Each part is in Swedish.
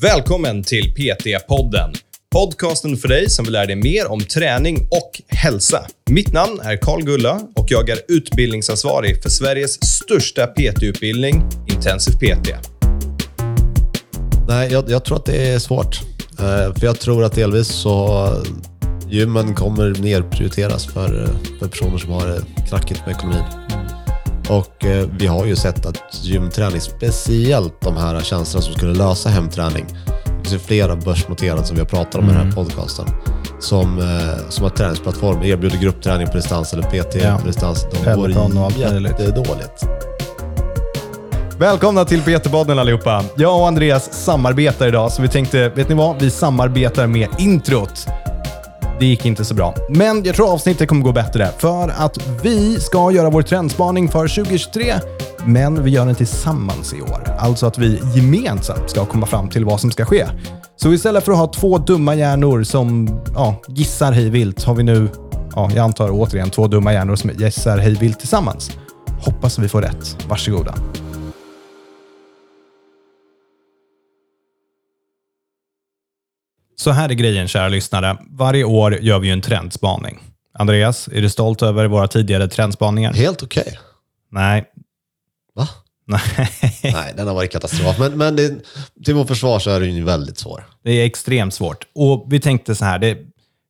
Välkommen till PT-podden. Podcasten för dig som vill lära dig mer om träning och hälsa. Mitt namn är Karl Gulla och jag är utbildningsansvarig för Sveriges största PT-utbildning, Intensiv PT. Nej, jag, jag tror att det är svårt. Eh, För jag tror att delvis så gymmen kommer nerprioriteras för, eh, för personer som har det knackigt med ekonomin. Och eh, vi har ju sett att gymträning, speciellt de här tjänsterna som skulle lösa hemträning. Det finns ju flera börsnoterade som vi har pratat om i den Mm. här podcasten. Som, eh, som har träningsplattform, erbjuder gruppträning på distans eller PT Ja. på distans. De går Peloton och allt möjligt. jättedåligt. Välkomna till PT-podden allihopa. Jag och Andreas samarbetar idag, så vi tänkte, vet ni vad? Vi samarbetar med introt. Det gick inte så bra, men jag tror avsnittet kommer gå bättre för att vi ska göra vår trendspaning för 2023, men vi gör den tillsammans i år. Alltså att vi gemensamt ska komma fram till vad som ska ske. Så istället för att ha två dumma hjärnor som ja, gissar hej vilt har vi nu, ja, jag antar återigen, två dumma hjärnor som gissar hej vilt tillsammans. Hoppas vi får rätt. Varsågoda. Så här är grejen, kära lyssnare. Varje år gör vi ju en trendspaning. Andreas, är du stolt över våra tidigare trendspaningar? Helt okej. Nej. Va? Nej. Nej, den har varit katastrof. Men, men det, till vårt försvar så är den ju väldigt svår. Det är extremt svårt. Och vi tänkte så här, det,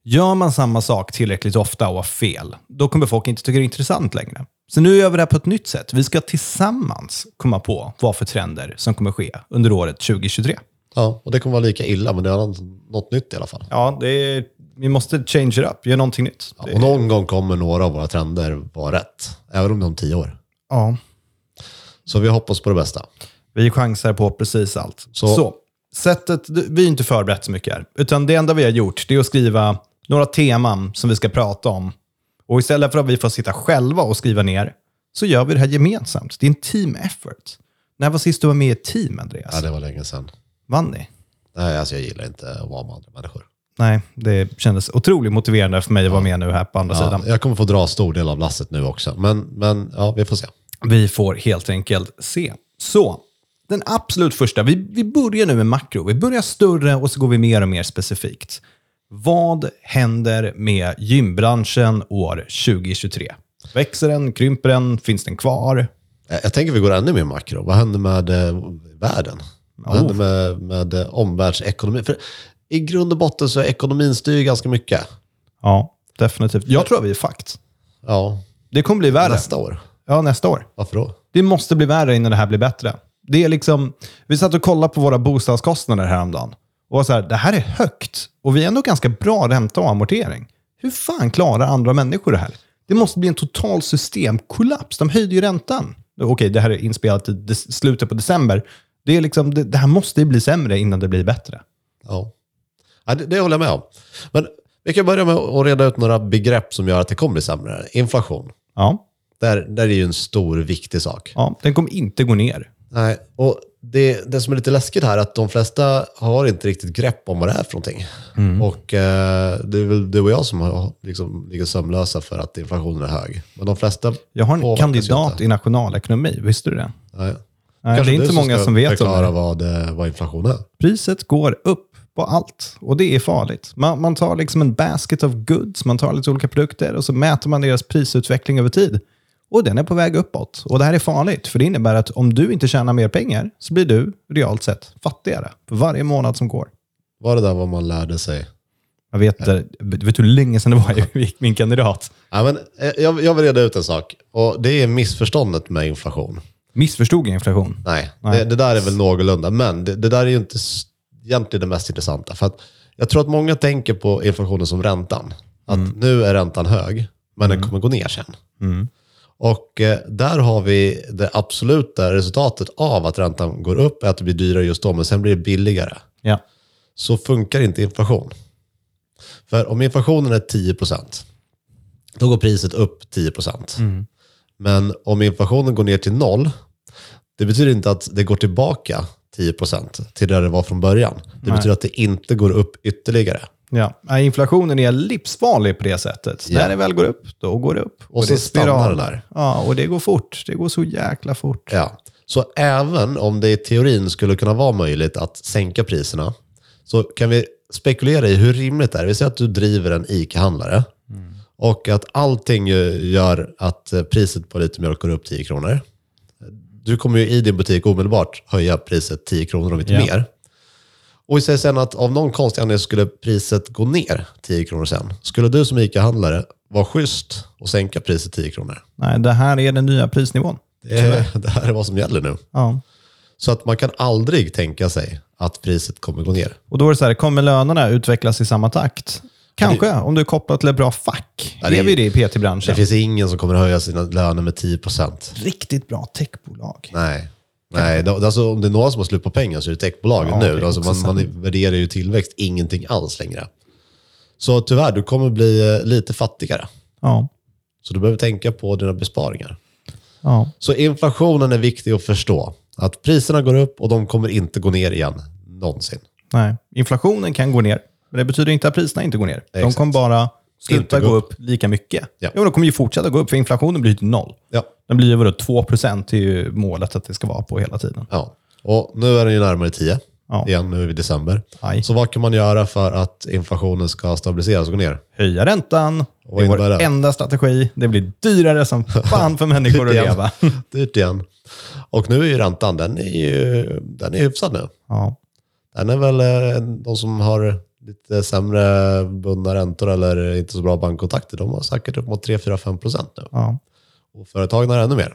gör man samma sak tillräckligt ofta och har fel, då kommer folk inte tycka det är intressant längre. Så nu gör vi det här på ett nytt sätt. Vi ska tillsammans komma på vad för trender som kommer ske under året 2023. Ja, och det kommer vara lika illa, men det är något nytt i alla fall. Ja, det är, vi måste change it up, göra någonting nytt. Ja, och någon gång kommer några av våra trender vara rätt, även om det är om tio år. ja. Så vi hoppas på det bästa. Vi chansar på precis allt. Så. Så. sättet, vi har inte förberett så mycket här. Utan det enda vi har gjort det är att skriva några teman som vi ska prata om. Och istället för att vi får sitta själva och skriva ner så gör vi det här gemensamt. Det är en team effort. När var sist du var med i ett team, Andreas? Ja, det var länge sedan. Vann ni? Nej, alltså jag gillar inte att vara med andra människor. Nej, det kändes otroligt motiverande för mig att vara med nu här på andra sidan. Ja, jag kommer få dra stor del av lasset nu också, men, men ja, vi får se. Vi får helt enkelt se. Så, den absolut första. Vi, vi börjar nu med makro. Vi börjar större och så går vi mer och mer specifikt. Vad händer med gymbranschen år 2023? Växer den? Krymper den? Finns den kvar? Jag, jag tänker vi går ännu mer makro. Vad händer med eh, världen? Vad händer med, med eh, omvärldsekonomin? För i grund och botten så är ekonomin styr ganska mycket. Ja, definitivt. Jag tror att vi är fakt. Ja, Det kommer bli värre. nästa år. Ja, nästa år. Varför då? Det måste bli värre innan det här blir bättre. Det är liksom, vi satt och kollade på våra bostadskostnader häromdagen. Och var så här, det här är högt och vi är ändå ganska bra ränta och amortering. Hur fan klarar andra människor det här? Det måste bli en total systemkollaps. De höjde ju räntan. Okej, det här är inspelat i des- slutet på december. Det, är liksom, det, det här måste ju bli sämre innan det blir bättre. Ja. Ja, det, det håller jag med om. Men vi kan börja med att reda ut några begrepp som gör att det kommer bli sämre. Inflation. Ja, Där, där är ju en stor, viktig sak. ja den kommer inte gå ner. Nej, och det, det som är lite läskigt här är att de flesta har inte riktigt grepp om vad det är för någonting. Mm. Och eh, det är väl du och jag som har, liksom, ligger sömnlösa för att inflationen är hög. Men de flesta Jag har en påverkas ju kandidat inte. i nationalekonomi, visste du det? Nej. Nej, Kanske det är du inte många ska som vet om det. förklara vad, eh, vad inflation är. Priset går upp på allt och det är farligt. Man, man tar liksom en basket of goods, man tar lite olika produkter och så mäter man deras prisutveckling över tid. Och den är på väg uppåt. Och det här är farligt, för det innebär att om du inte tjänar mer pengar så blir du realt sett fattigare för varje månad som går. Var det där vad man lärde sig? Jag vet, inte- vet du hur länge sedan det var jag gick min kandidat? Ja, men, eh, jag, jag vill reda ut en sak. Och det är missförståndet med inflation. Missförstod jag inflation? Nej, Nej. Det, det där är väl någorlunda. Men det, det där är ju inte s- egentligen det mest intressanta. För att jag tror att många tänker på inflationen som räntan. Att nu är räntan hög, men den kommer gå ner sen. Och eh, där har vi det absoluta resultatet av att räntan går upp, är att det blir dyrare just då, men sen blir det billigare. Ja. Så funkar inte inflation. För om inflationen är 10 då går priset upp 10 Men om inflationen går ner till noll, det betyder inte att det går tillbaka 10 till där det var från början. Det betyder att det inte går upp ytterligare. Ja, Nej, inflationen är livsfarlig på det sättet. Ja. När det väl går upp, då går det upp. Och så är spiral. stannar det där. Ja, och det går fort. Det går så jäkla fort. Ja. Så även om det i teorin skulle kunna vara möjligt att sänka priserna, så kan vi spekulera i hur rimligt det är. Vi säger att du driver en ICA-handlare och att allting ju gör att eh, priset på lite mjölk går upp 10 kronor. Du kommer ju i din butik omedelbart höja priset 10 kronor om inte Ja. mer. Och vi säger sen att av någon konstig anledning skulle priset gå ner 10 kronor sen. Skulle du som ICA-handlare vara schysst och sänka priset 10 kronor? Nej, det här är den nya prisnivån. Det, är, det här är vad som gäller nu. Ja. Så att man kan aldrig tänka sig att priset kommer gå ner. Och då är det så här, kommer lönerna utvecklas i samma takt? Kanske, om du är kopplad till ett bra fack. Ja, det det är är- vi det i Det PT-branschen? finns ingen som kommer att höja sina löner med 10 procent. Riktigt bra techbolag. Nej. Nej, det- alltså, om det är några som har slut på pengar så är det techbolagen Ja, det nu. är Alltså, också man, man värderar ju tillväxt ingenting alls längre. Så tyvärr, du kommer bli eh, lite fattigare. Ja. Så du behöver tänka på dina besparingar. ja. Så inflationen är viktig att förstå. Att priserna går upp och de kommer inte gå ner igen. Någonsin. Nej. Inflationen kan gå ner, men det betyder inte att priserna inte går ner. De Exakt. kommer bara sluta Inte gå gå upp lika mycket. Ja. Jo, de kommer ju fortsätta gå upp, för inflationen blir ju till noll. Ja. Den blir ju vadå, 2 procent är ju målet att det ska vara på hela tiden. ja. Och nu är den ju närmare 10 Ja. igen, nu är vi i december. Aj. Så vad kan man göra för att inflationen ska stabiliseras och gå ner? Höja räntan, det är innebär vår det? enda strategi. Det blir dyrare som fan för människor att Igen. leva. Dyrt igen. Och nu är ju räntan, den är ju den är hyfsad nu. Ja. Den är väl eh, de som har lite sämre bundna räntor eller inte så bra bankkontakter, de har säkert upp mot 3-4-5 procent nu. ja, Och företagen har ännu mer.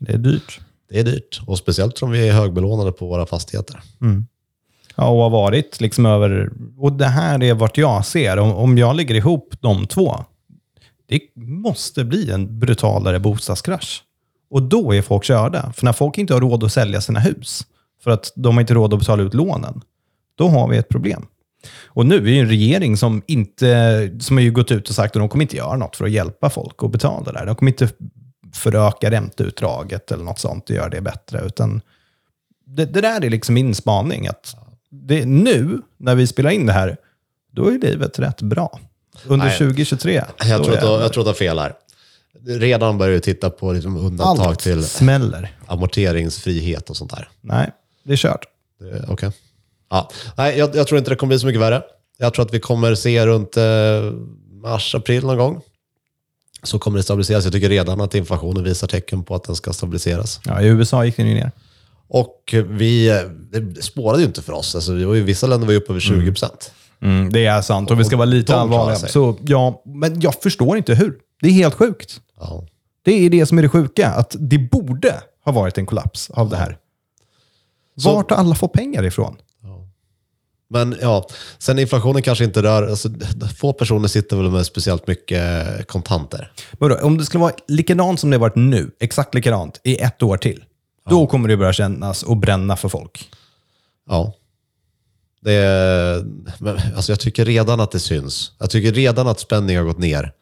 det är dyrt. Det är dyrt. Och speciellt som vi är högbelånade på våra fastigheter. Ja, och har varit liksom över... Och det här är vart jag ser. Om, om jag lägger ihop de två, det måste bli en brutalare bostadskrasch. Och då är folk körda. För när folk inte har råd att sälja sina hus, för att de har inte råd att betala ut lånen, då har vi ett problem. Och nu är ju en regering som inte som har ju gått ut och sagt att de kommer inte göra något för att hjälpa folk att betala det där. De kommer inte föröka ränteutdraget eller något sånt och göra det bättre. Utan det, det där är liksom min spaning. Att det, nu, när vi spelar in det här, då är livet rätt bra. Under Nej. 2023. Jag då tror, att, är- jag, tror att jag har fel här. Redan börjar vi titta på liksom undantag allt till smäller. amorteringsfrihet och sånt där. Nej, det är kört. Det- Okej. Ja. Nej, jag, jag tror inte det kommer bli så mycket värre. Jag tror att vi kommer se runt eh, mars, april någon gång. Så kommer det stabiliseras. Jag tycker redan att inflationen visar tecken på att den ska stabiliseras. Ja, I USA gick den ju ner. Och vi, eh, det spårade ju inte för oss. Alltså, vi var ju, vissa länder var ju uppe över 20 procent. Mm, det är sant, om vi ska vara lite de allvarliga. klarar sig. Så, ja, men jag förstår inte hur. Det är helt sjukt. Ja. Det är det som är det sjuka, att det borde ha varit en kollaps av det här. Så- Vart har alla fått pengar ifrån? Men ja, sen inflationen kanske inte rör... Alltså, få personer sitter väl med speciellt mycket kontanter. Men då, om det skulle vara likadant som det har varit nu, exakt likadant, i ett år till, då kommer det börja kännas och bränna för folk. Ja. Det är, men, alltså jag tycker redan att det syns. Jag tycker redan att spänningen har gått ner.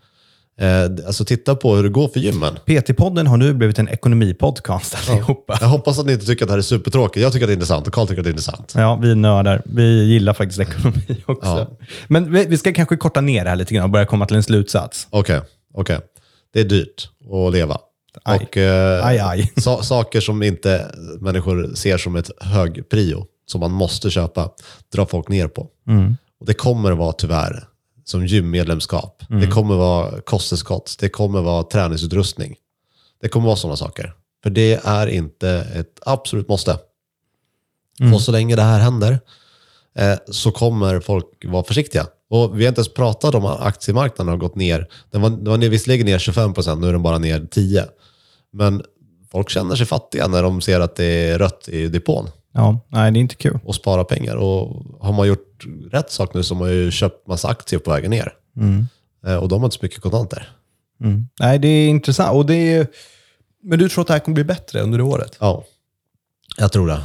Eh, alltså titta på hur det går för gymmen. PT-podden har nu blivit en ekonomipodcast allihopa. Jag hoppas att ni inte tycker att det här är supertråkigt. Jag tycker att det är intressant och Carl tycker att det är intressant. Ja, vi är nördar. Vi gillar faktiskt ekonomi också. Men vi, vi ska kanske korta ner det här lite grann och börja komma till en slutsats. Okej, okej. Det är dyrt att leva. Aj. Och, eh, Aj, aj. sa- saker som inte människor ser som ett hög prio, som man måste köpa, drar folk ner på. Och det kommer att vara tyvärr som gymmedlemskap. Det kommer att vara kosttillskott. Det kommer att vara träningsutrustning. Det kommer att vara sådana saker. För det är inte ett absolut måste. Och så länge det här händer eh, så kommer folk vara försiktiga. Och vi har inte ens pratat om att aktiemarknaden har gått ner. Den var, den var ner- visserligen ner 25 procent, nu är den bara ner 10. Men folk känner sig fattiga när de ser att det är rött i depån Ja, nej, det är inte kul. och sparar pengar. Och har man gjort rätt sak nu så har man ju köpt massa aktier på vägen ner. Eh, Och de har inte så mycket kontanter. Nej, det är intressant. Och det är ju... Men du tror att det här kommer bli bättre under året? Ja, jag tror det.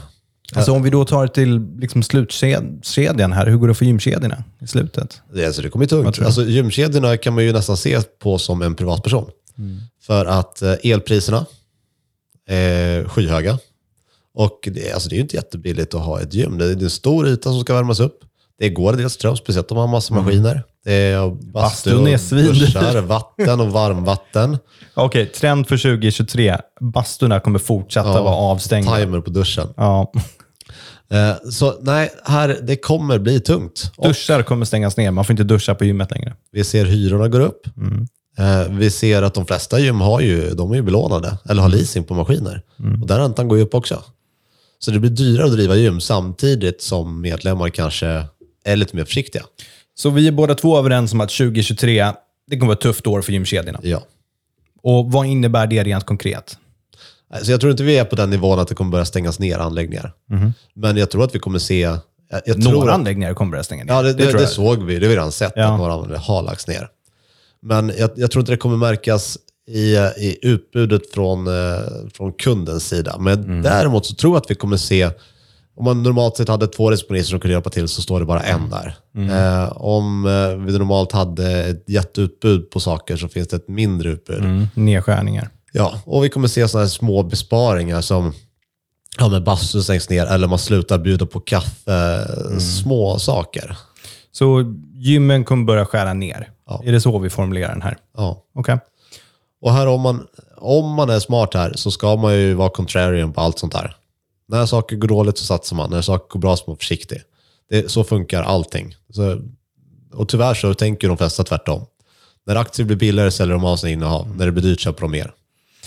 Alltså om vi då tar det till liksom slutkedjan här, hur går det för gymkedjorna i slutet? Det, alltså, det kommer ju tungt. Alltså, gymkedjorna kan man ju nästan se på som en privatperson. Mm. För att eh, elpriserna är skyhöga. Och det, alltså, det är ju inte jättebilligt att ha ett gym. Det är en stor yta som ska värmas upp. Det går dels ström, speciellt om man har massa maskiner. Det är bastu Mm. Bastun är och svindyr. duschar, vatten och varmvatten. Okej, trend för 2023. Basturna kommer fortsätta vara avstängda. Timer på duschen. Ja. Eh, Så nej, här, det kommer bli tungt. Och Duschar kommer stängas ner. Man får inte duscha på gymmet längre. vi ser hyrorna går upp. Eh, Vi ser att de flesta gym har ju, de är ju belånade eller har leasing på maskiner. Och där räntan går ju upp också. Så det blir dyrare att driva gym samtidigt som medlemmar kanske är lite mer försiktiga. Så vi är båda två överens om att 2023, det kommer vara ett tufft år för gymkedjorna. Ja. Och vad innebär det rent konkret? Så jag tror inte vi är på den nivån att det kommer börja stängas ner anläggningar. Men jag tror att vi kommer se... Jag, jag tror Några att- anläggningar kommer börja stänga ner. Ja, det, det, det, tror jag. såg vi. Det har vi redan sett, Ja. att några användare har lagts ner. Men jag, jag tror inte det kommer märkas i, eh, i utbudet från, eh, från kundens sida. Men Mm. däremot så tror jag att vi kommer se, om man normalt sett hade två respondenter som kunde hjälpa till så står det bara en där. Mm. Eh, om eh, vi normalt hade ett jätteutbud på saker så finns det ett mindre utbud. Mm, nedskärningar. Ja, och vi kommer se sådana här små besparingar som ja, men bastun stängs ner eller man slutar bjuda på kaffe. Mm. Små saker. Så gymmen kommer börja skära ner. Ja. Är det så vi formulerar den här? Ja. Okej. Och här om man, om man är smart här så ska man ju vara contrarian på allt sånt här. När saker går dåligt så satsar man, när saker går bra så är man försiktig. Det, så funkar allting. Så, och tyvärr så tänker de flesta tvärtom. När aktier blir billigare säljer de av sina innehav, när det blir dyrt köper de mer.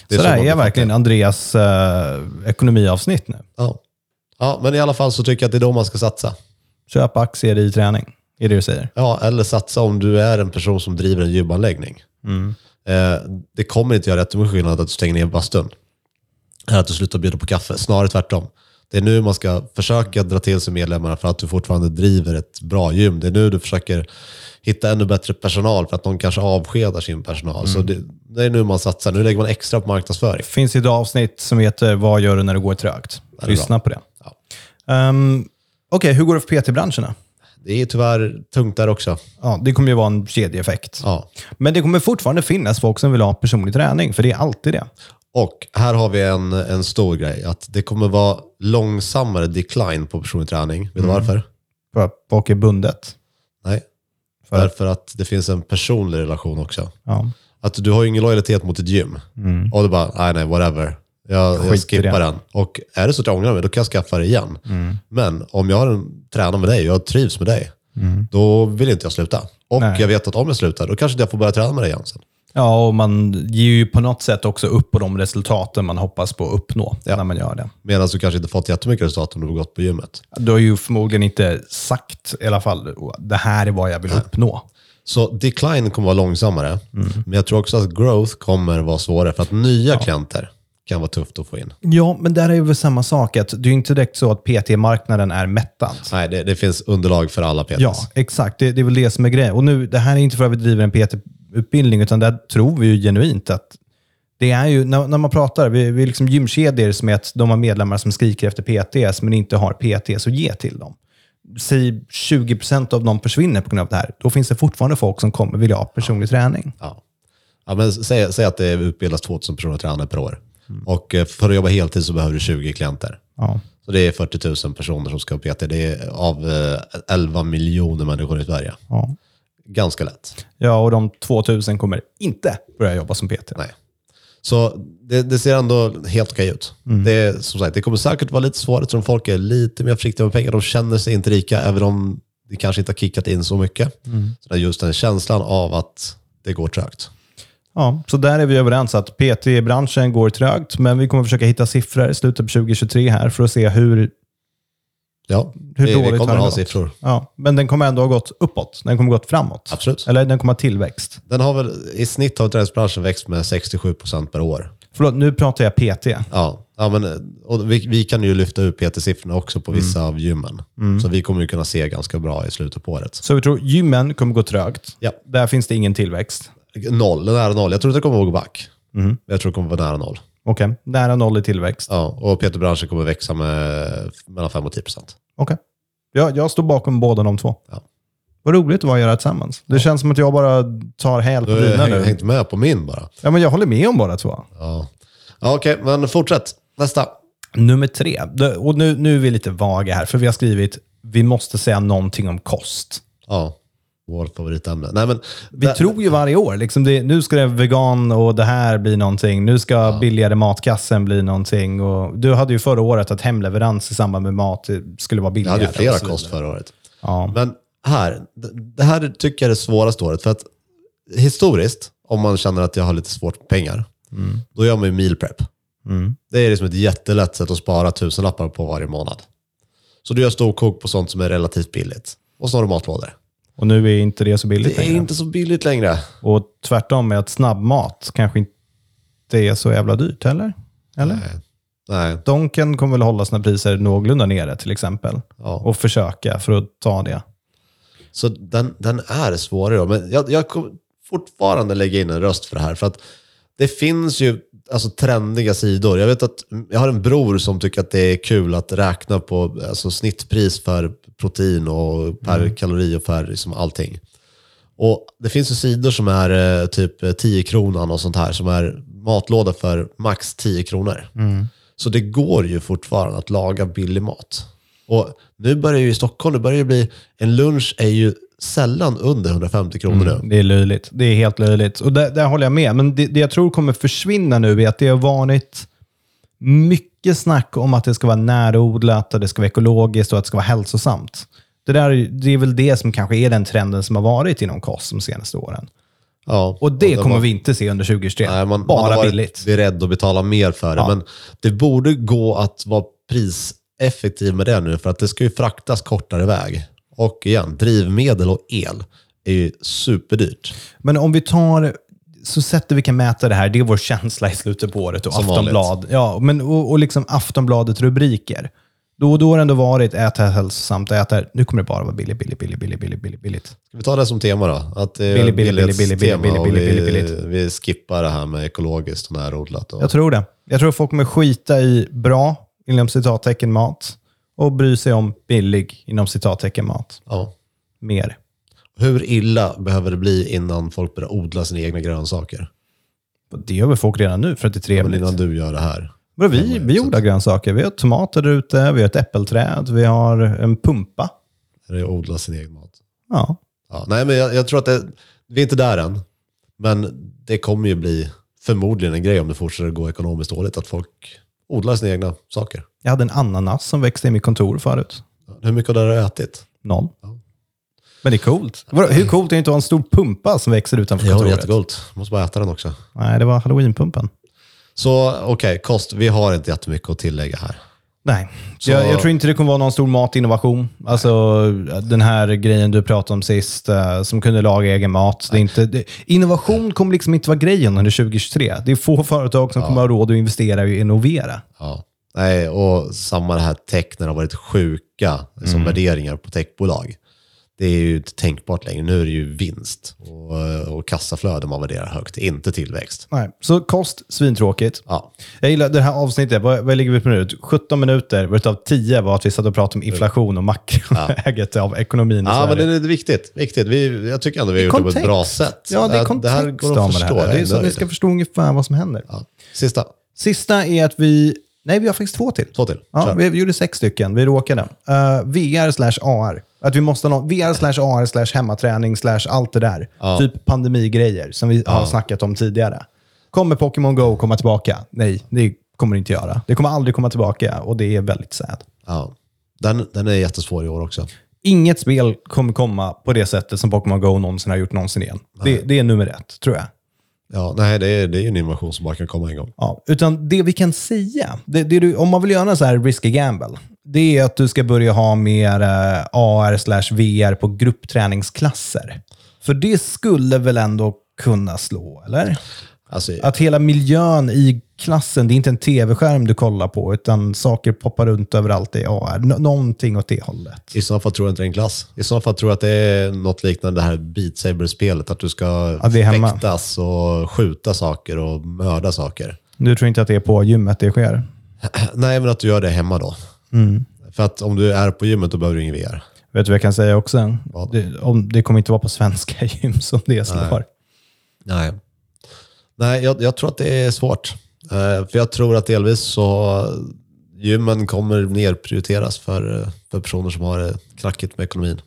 Det Det så det här man är blir verkligen fattig. Andreas eh, ekonomiavsnitt nu. Ja. ja, men i alla fall så tycker jag att det är då man ska satsa. Köp aktier i träning, är det du säger. Ja, eller satsa om du är en person som driver en gymanläggning. Eh, det kommer inte göra jättemycket skillnad att du stänger ner bastun. Eller att du slutar bjuda på kaffe. Snarare tvärtom. Det är nu man ska försöka dra till sig medlemmarna för att du fortfarande driver ett bra gym. Det är nu du försöker hitta ännu bättre personal för att någon kanske avskedar sin personal. Så det, det är nu man satsar. Nu lägger man extra på marknadsföring. Det finns ett avsnitt som heter Vad gör du när det går trögt? Lyssna på det. Ja. Ehm, Okej, hur går det för PT-branscherna? Det är tyvärr tungt där också. Ja, det kommer ju vara en kedjeeffekt. Ja. Men det kommer fortfarande finnas folk som vill ha personlig träning, för det är alltid det. Och här har vi en, en stor grej. Att det kommer vara långsammare decline på personlig träning. Vet du Mm. varför? För att folk är bundet. Nej. För- Därför att det finns en personlig relation också. Ja. Att du har ju ingen lojalitet mot ett gym. Och du bara, nej nej, whatever. Jag, Mm. Skit i jag skippar det. Mm. den. Och är det så att jag ångrar mig, då kan jag skaffa det igen. Men om jag har en, tränar med dig och jag trivs med dig, då vill inte jag sluta. Och Mm. Nej. jag vet att om jag slutar, då kanske inte jag får börja träna med dig igen sen. ja, och man ger ju på något sätt också upp på de resultaten man hoppas på att uppnå Ja. när man gör det. Medan du kanske inte fått jättemycket resultat om du har gått på gymmet. Du har ju förmodligen inte sagt i alla fall, det här är vad jag vill uppnå. Så decline kommer vara långsammare, Mm. men jag tror också att growth kommer vara svårare för att nya klienter kan vara tufft att få in. Ja, men där är ju väl samma sak. Att det är ju inte direkt så att PT-marknaden är mättad. Nej, det, det finns underlag för alla PTs. Ja, exakt. Det, det är väl det som är grejen. Och nu, det här är inte för att vi driver en PT-utbildning, utan där tror vi ju genuint att det är ju, när, när man pratar, vi, vi är liksom gymkedjor som är att de har medlemmar som skriker efter PTs, men inte har PTs att ge till dem. Säg 20% av dem försvinner på grund av det här. Då finns det fortfarande folk som kommer vilja ha personlig träning. Ja. Ja, men säg, säg att det utbildas 2000 personer tränare per år. Och eh, för att jobba heltid så behöver du 20 klienter. Mm. Ja. Så det är 40 000 personer som ska ha PT. Det är av eh, 11 miljoner människor i Sverige. Ja. Ganska lätt. ja, och de 2000 kommer inte börja jobba som PT. Nej. Så det, det ser ändå helt okej ut. Mm. Det, är, som sagt, det kommer säkert vara lite svårare eftersom folk är lite mer försiktiga med pengar. De känner sig inte rika, även om det kanske inte har kickat in så mycket. Mm. Så det är just den känslan av att det går trögt. Ja, så där är vi överens att PT-branschen går trögt, men vi kommer försöka hitta siffror i slutet på 2023 här för att se hur... Ja, Hur vi, dåligt vi har kommer det ha gått? siffror. Ja, men den kommer ändå ha gått uppåt. Den kommer gått framåt. Absolut. Eller den kommer ha tillväxt. Den har väl i snitt har träningsbranschen växt med 67 procent per år. Förlåt, nu pratar jag PT. Ja, ja men, eh, och vi, vi kan ju lyfta ut PT-siffrorna också på vissa Mm. av gymmen. Så vi kommer ju kunna se ganska bra i slutet på året. Så vi tror gymmen kommer gå trögt. Ja. Där finns det ingen tillväxt. Noll, nära noll. Jag tror inte det kommer att gå back. Mm. Jag tror det kommer att vara nära noll. Okej, nära noll i tillväxt. Ja, och PT-branschen kommer växa med mellan 5 och 10 procent. Okej. Jag, jag står bakom båda de två. Ja. Vad roligt det var att göra tillsammans. Det känns som att jag bara tar häl på Du har ju dina häng- nu. hängt med på min bara. Ja, men jag håller med om båda två. Ja. Ja, Okej, men fortsätt. Nästa. Nummer tre, Det- och nu, nu är vi lite vaga här, för vi har skrivit vi måste säga någonting om kost. Ja. Vårt favoritämne. Nej, men, Vi tror ju varje år, liksom det, nu ska det vegan och det här bli någonting. Nu ska billigare matkassen bli någonting. Och du hade ju förra året att hemleverans i samband med mat eh, skulle vara Jag billigare. hade ju och flera så vidare. kost förra året. Ja. Men här, d- det här tycker jag är det svåraste året. För att historiskt, om man känner att jag har lite svårt med pengar, då gör man ju meal prep. Mm. Det är liksom ett jättelätt sätt att spara tusenlappar på varje månad. Så du gör storkok på sånt som är relativt billigt. Och så har du matlådor. Och nu är inte det så billigt Det är längre. inte så billigt längre. Och tvärtom är att snabbmat kanske inte är så jävla dyrt heller. Eller? Nej, Donken kommer väl hålla sina priser någorlunda nere till exempel. ja. Och försöka för att ta det. Så den, den är svårare. då. Men jag, jag kommer fortfarande lägga in en röst för det här. För att det finns ju alltså, trendiga sidor. Jag vet att jag har en bror som tycker att det är kul att räkna på alltså, snittpris för protein och per kalori och per liksom, allting. Och Det finns ju sidor som är eh, typ eh, 10 kronan och sånt här, som är matlåda för max 10 kronor. Mm. Så det går ju fortfarande att laga billig mat. Och Nu börjar ju i Stockholm, det börjar ju bli, en lunch är ju sällan under 150 kronor nu. Det är löjligt. Det är helt löjligt. Och där, där håller jag med. Men det, det jag tror kommer försvinna nu är att det har varit mycket snack om att det ska vara närodlat och det ska vara ekologiskt och att det ska vara hälsosamt. Det, där, är ju- det är väl det som kanske är den trenden som har varit inom kost de senaste åren. Ja. Och det var- kommer vi inte se under 2023. Nej, man, Bara man har varit billigt. beredd att betala mer för det. Men det borde gå att vara priseffektiv med det nu, för att det ska ju fraktas kortare väg. Och igen, drivmedel och el är ju superdyrt. Men om vi tar, så sättet vi kan mäta det här, det är vår känsla i slutet på året. Och Som Aftonblad, ja, men, och, och liksom Aftonbladet rubriker. Då och då har det ändå varit äta hälsosamt, äta, nu kommer det bara vara billigt, billigt, billigt, billigt, billigt, billigt, billigt. Ska vi ta det som tema då? Att det är Billig, billig, billig, billig, billig, billighetstema billig, och billig, vi- billig, billigt. Vi skippar det här med ekologiskt och närodlat. Och, Jag tror det. Jag tror folk kommer skita i bra, inom citattecken, mat och bry sig om billig, inom citattecken, mat. ja. Mer. Hur illa behöver det bli innan folk börjar odla sina egna grönsaker? Och Det gör väl folk redan nu för att det är Men trevligt. innan du gör det här. Vadå, vi, vi odlar grönsaker. Vi har tomater där ute, vi har ett äppelträd, vi har en pumpa. Är det att odla sin egen mat? Ja. Ja, nej, men jag, jag tror att det, vi är inte där än. Men det kommer ju bli förmodligen en grej om det fortsätter gå ekonomiskt dåligt, att folk odlar sina egna saker. Jag hade en ananas som växte i mitt kontor förut. Hur mycket av det har du ätit? Noll. Men det är coolt. Vadå, Hur coolt är det inte att ha en stor pumpa som växer utanför Jo, kontoret? jättegott. Måste bara äta den också. Nej, det var halloweenpumpen. Så okej, kost. Vi har inte jättemycket att tillägga här. Nej, Så- jag, jag tror inte det kommer vara någon stor matinnovation. Alltså den här grejen du pratade om sist, eh, som kunde laga egen mat. Det är inte, det, innovation kommer liksom inte vara grejen under 2023. Det är få företag som kommer ha råd att investera och innovera. Ja. Nej, och samma det här tech när det har varit sjuka Mm. som värderingar på techbolag. Det är ju inte tänkbart längre. Nu är det ju vinst och, och kassaflöde man värderar högt, inte tillväxt. Nej. Så kost, svintråkigt. Ja. Jag gillar det här avsnittet. Vad, vad ligger vi på nu? 17 minuter, varav 10 var att vi satt och pratade om inflation och makroläget av ekonomin i Mm. Ja, men Sverige. det är viktigt. viktigt. Vi, jag tycker ändå vi har gjort det på ett bra sätt. Ja, det är kontext. det här går att förstå. Det, här. Jag det är så att ni nöjd. ska förstå ungefär vad som händer. ja. Sista, Sista är att vi... Nej, vi har faktiskt två till. två till. Ja, Kör. vi, vi gjorde sex stycken. Vi råkade. Eh, VR slash AR. Att vi måste ha någon, VR slash AR slash hemmaträning slash allt det där. Typ pandemigrejer som vi har snackat om tidigare. Kommer Pokémon Go komma tillbaka? Nej, det kommer det inte göra. Det kommer aldrig komma tillbaka och det är väldigt sad. Ja. Den, den är jättesvår i år också. Inget spel kommer komma på det sättet som Pokémon Go någonsin har gjort någonsin igen. Det, det är nummer ett, tror jag. Ja, nej, det, är, det är ju en innovation som bara kan komma en gång. Ja, utan det vi kan säga, det, det du, om man vill göra en så här risky gamble, det är att du ska börja ha mer eh, AR slash VR på gruppträningsklasser. För det skulle väl ändå kunna slå, eller? Alltså, Att hela miljön i klassen, det är inte en tv-skärm du kollar på, utan saker poppar runt överallt i AR. Nå- någonting åt det hållet. I så fall tror jag inte det är en klass. I så fall tror jag att det är något liknande det här Beat Saber-spelet. Att du ska Ja, det är hemma. fäktas och skjuta saker och mörda saker. Du tror inte att det är på gymmet det sker? Nej, men att du gör det hemma då. Mm. För att om du är på gymmet då behöver du ingen VR. Vet du vad jag kan säga också? Det, om, det kommer inte vara på svenska gym som det slår. Nej. Nej, jag, jag tror att det är svårt. Eh, för jag tror att delvis så Mm. gymmen kommer nerprioriteras för, eh, för personer som har det knackigt med ekonomin.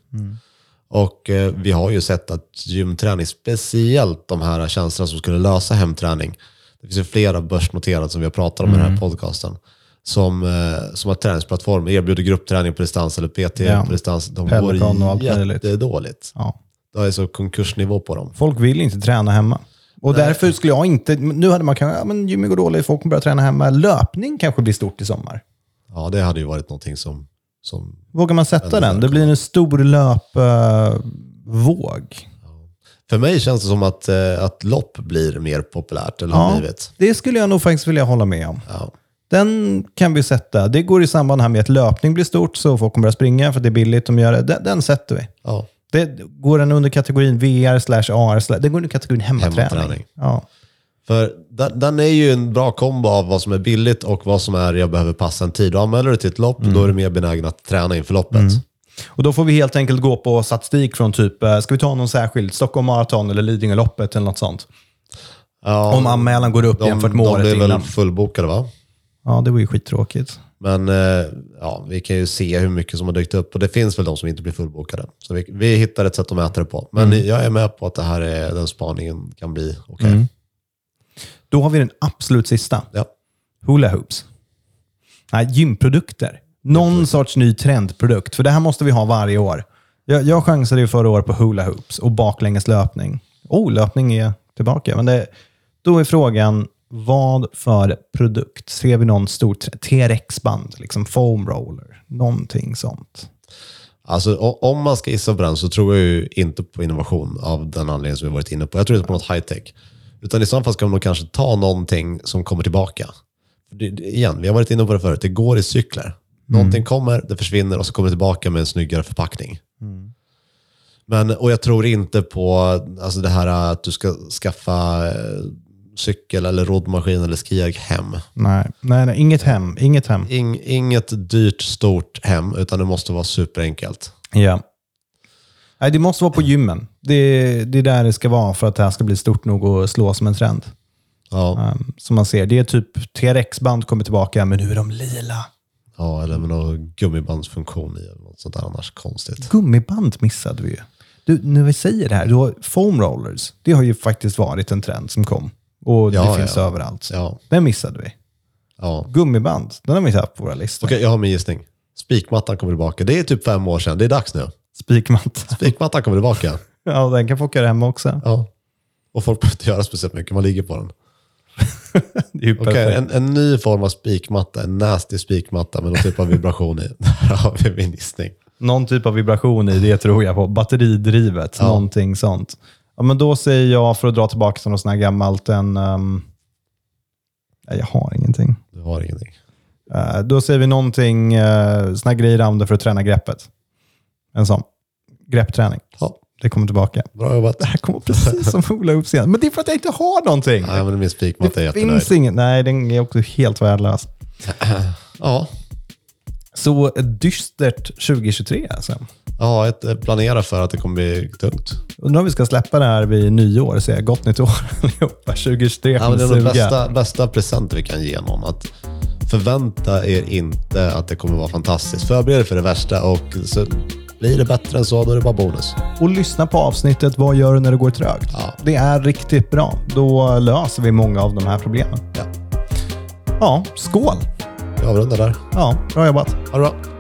Och eh, vi har ju sett att gymträning, speciellt de här tjänsterna som skulle lösa hemträning, det finns ju flera börsnoterade som vi har pratat om i Mm. den här podcasten, som, eh, som har träningsplattform, erbjuder gruppträning på distans eller PT Ja. på distans. De Peloton och går allt möjligt. jättedåligt. Ja. Det är så konkursnivå på dem. Folk vill inte träna hemma. Och därför skulle jag inte... Nu hade man kanske, ja men gymmet går dåligt, folk kommer börja träna hemma. Löpning kanske blir stort i sommar. Ja, det hade ju varit någonting som, som Vågar man sätta den? Det blir en stor löpvåg. För mig känns det som att, eh, att lopp blir mer populärt, eller har Ja, blivit. det skulle jag nog faktiskt vilja hålla med om. Ja. Den kan vi sätta. Det går i samband här med att löpning blir stort, så folk kommer att springa för att det är billigt de gör det. Den, den sätter vi. Ja. Det går den under kategorin VR slash AR. slash- Den går under kategorin hemmaträning. Hemmaträning. Ja. För den, den är ju en bra kombo av vad som är billigt och vad som är jag behöver passa en tid. Och anmäler du till ett lopp, Mm. då är du mer benägen att träna inför loppet. Och då får vi helt enkelt gå på statistik från typ, eh, ska vi ta någon särskild, Stockholm Marathon eller Lidingöloppet eller något sånt. Ja, Om anmälan går upp de, jämfört med de året är väl innan. fullbokade va? Ja, det var ju skittråkigt. Men eh, ja, vi kan ju se hur mycket som har dykt upp. Och det finns väl de som inte blir fullbokade. Så vi, vi hittar ett sätt att mäta det på. Men Mm. jag är med på att det här är, den spaningen kan bli okej. Mm. Då har vi den absolut sista. Ja. Hula hoops. Nej, gymprodukter. Någon sorts ny trendprodukt, för det här måste vi ha varje år. Jag, jag chansade ju förra året på hula hoops och baklängeslöpning. Oh, löpning är tillbaka. Men det, då är frågan, vad för produkt? Ser vi någon stor tre- TRX-band, liksom foam roller, någonting sånt? Alltså, o- om man ska gissa på den så tror jag ju inte på innovation av den anledningen som vi varit inne på. Jag tror inte på något high-tech. Utan i så fall ska man nog kanske ta någonting som kommer tillbaka. För det, det, igen, vi har varit inne på det förut. Det går i cykler. Någonting kommer, det försvinner och så kommer det tillbaka med en snyggare förpackning. Men, och jag tror inte på alltså det här att du ska skaffa eh, cykel eller roddmaskin eller skijag hem. Nej, nej, nej inget hem. Inget hem. Ing, inget dyrt, stort hem, utan det måste vara superenkelt. Ja. Nej, det måste vara på gymmen. Det, det är där det ska vara för att det här ska bli stort nog och slå som en trend. Ja. Um, som man ser, det är typ TRX-band kommer tillbaka, men nu är de lila. Ja, eller med någon gummibandsfunktion i eller något sånt där annars konstigt. Gummiband missade vi ju. Du, när vi säger det här, du har foam rollers. Det har ju faktiskt varit en trend som kom. Och Ja, det finns ja. överallt. Ja, Den missade vi. ja. Gummiband, den har vi inte haft på våra listor. Okej, jag har min gissning. Spikmattan kommer tillbaka. Det är typ fem år sedan. Det är dags nu. Spikmatta. Spikmattan kommer tillbaka. Ja, den kan få åka hemma också. Ja. Och folk behöver inte göra speciellt mycket. Man ligger på den. Det är ju Okej, perfekt. en, en ny form av spikmatta. En nasty spikmatta med någon typ av vibration i. Där har vi min gissning. Någon typ av vibration i det tror jag på. Batteridrivet, någonting sånt. Ja, men då säger jag, för att dra tillbaka till något sånt här gammalt, en... ehm, nej, jag har ingenting. Du har ingenting. Eh, då säger vi någonting, uh, såna här grejer jag använder för att träna greppet. En sån. Greppträning. Ja, Det kommer tillbaka. bra jobbat. Det här kommer precis som Ola upp sen. Men det är för att jag inte har någonting. Nej, men min spikmatta är det jättenöjd. finns inget. Nej, den är också helt värdelös. Ja. Så ett dystert 2023 alltså. ja, ett, eh, planera för att det kommer bli tungt. Undrar om vi ska släppa det här vid nyår och säga gott nytt år allihopa. 2023 Ja, kommer men det är suga. den bästa, bästa present vi kan ge någon. Att förvänta er inte att det kommer vara fantastiskt. Förbered er för det värsta och så blir det bättre än så, då är det bara bonus. Och lyssna på avsnittet Vad gör du när det går trögt? Ja. Det är riktigt bra. Då löser vi många av de här problemen. Ja, Ja, skål! vi avrundar där. Ja, bra jobbat. Ha det bra.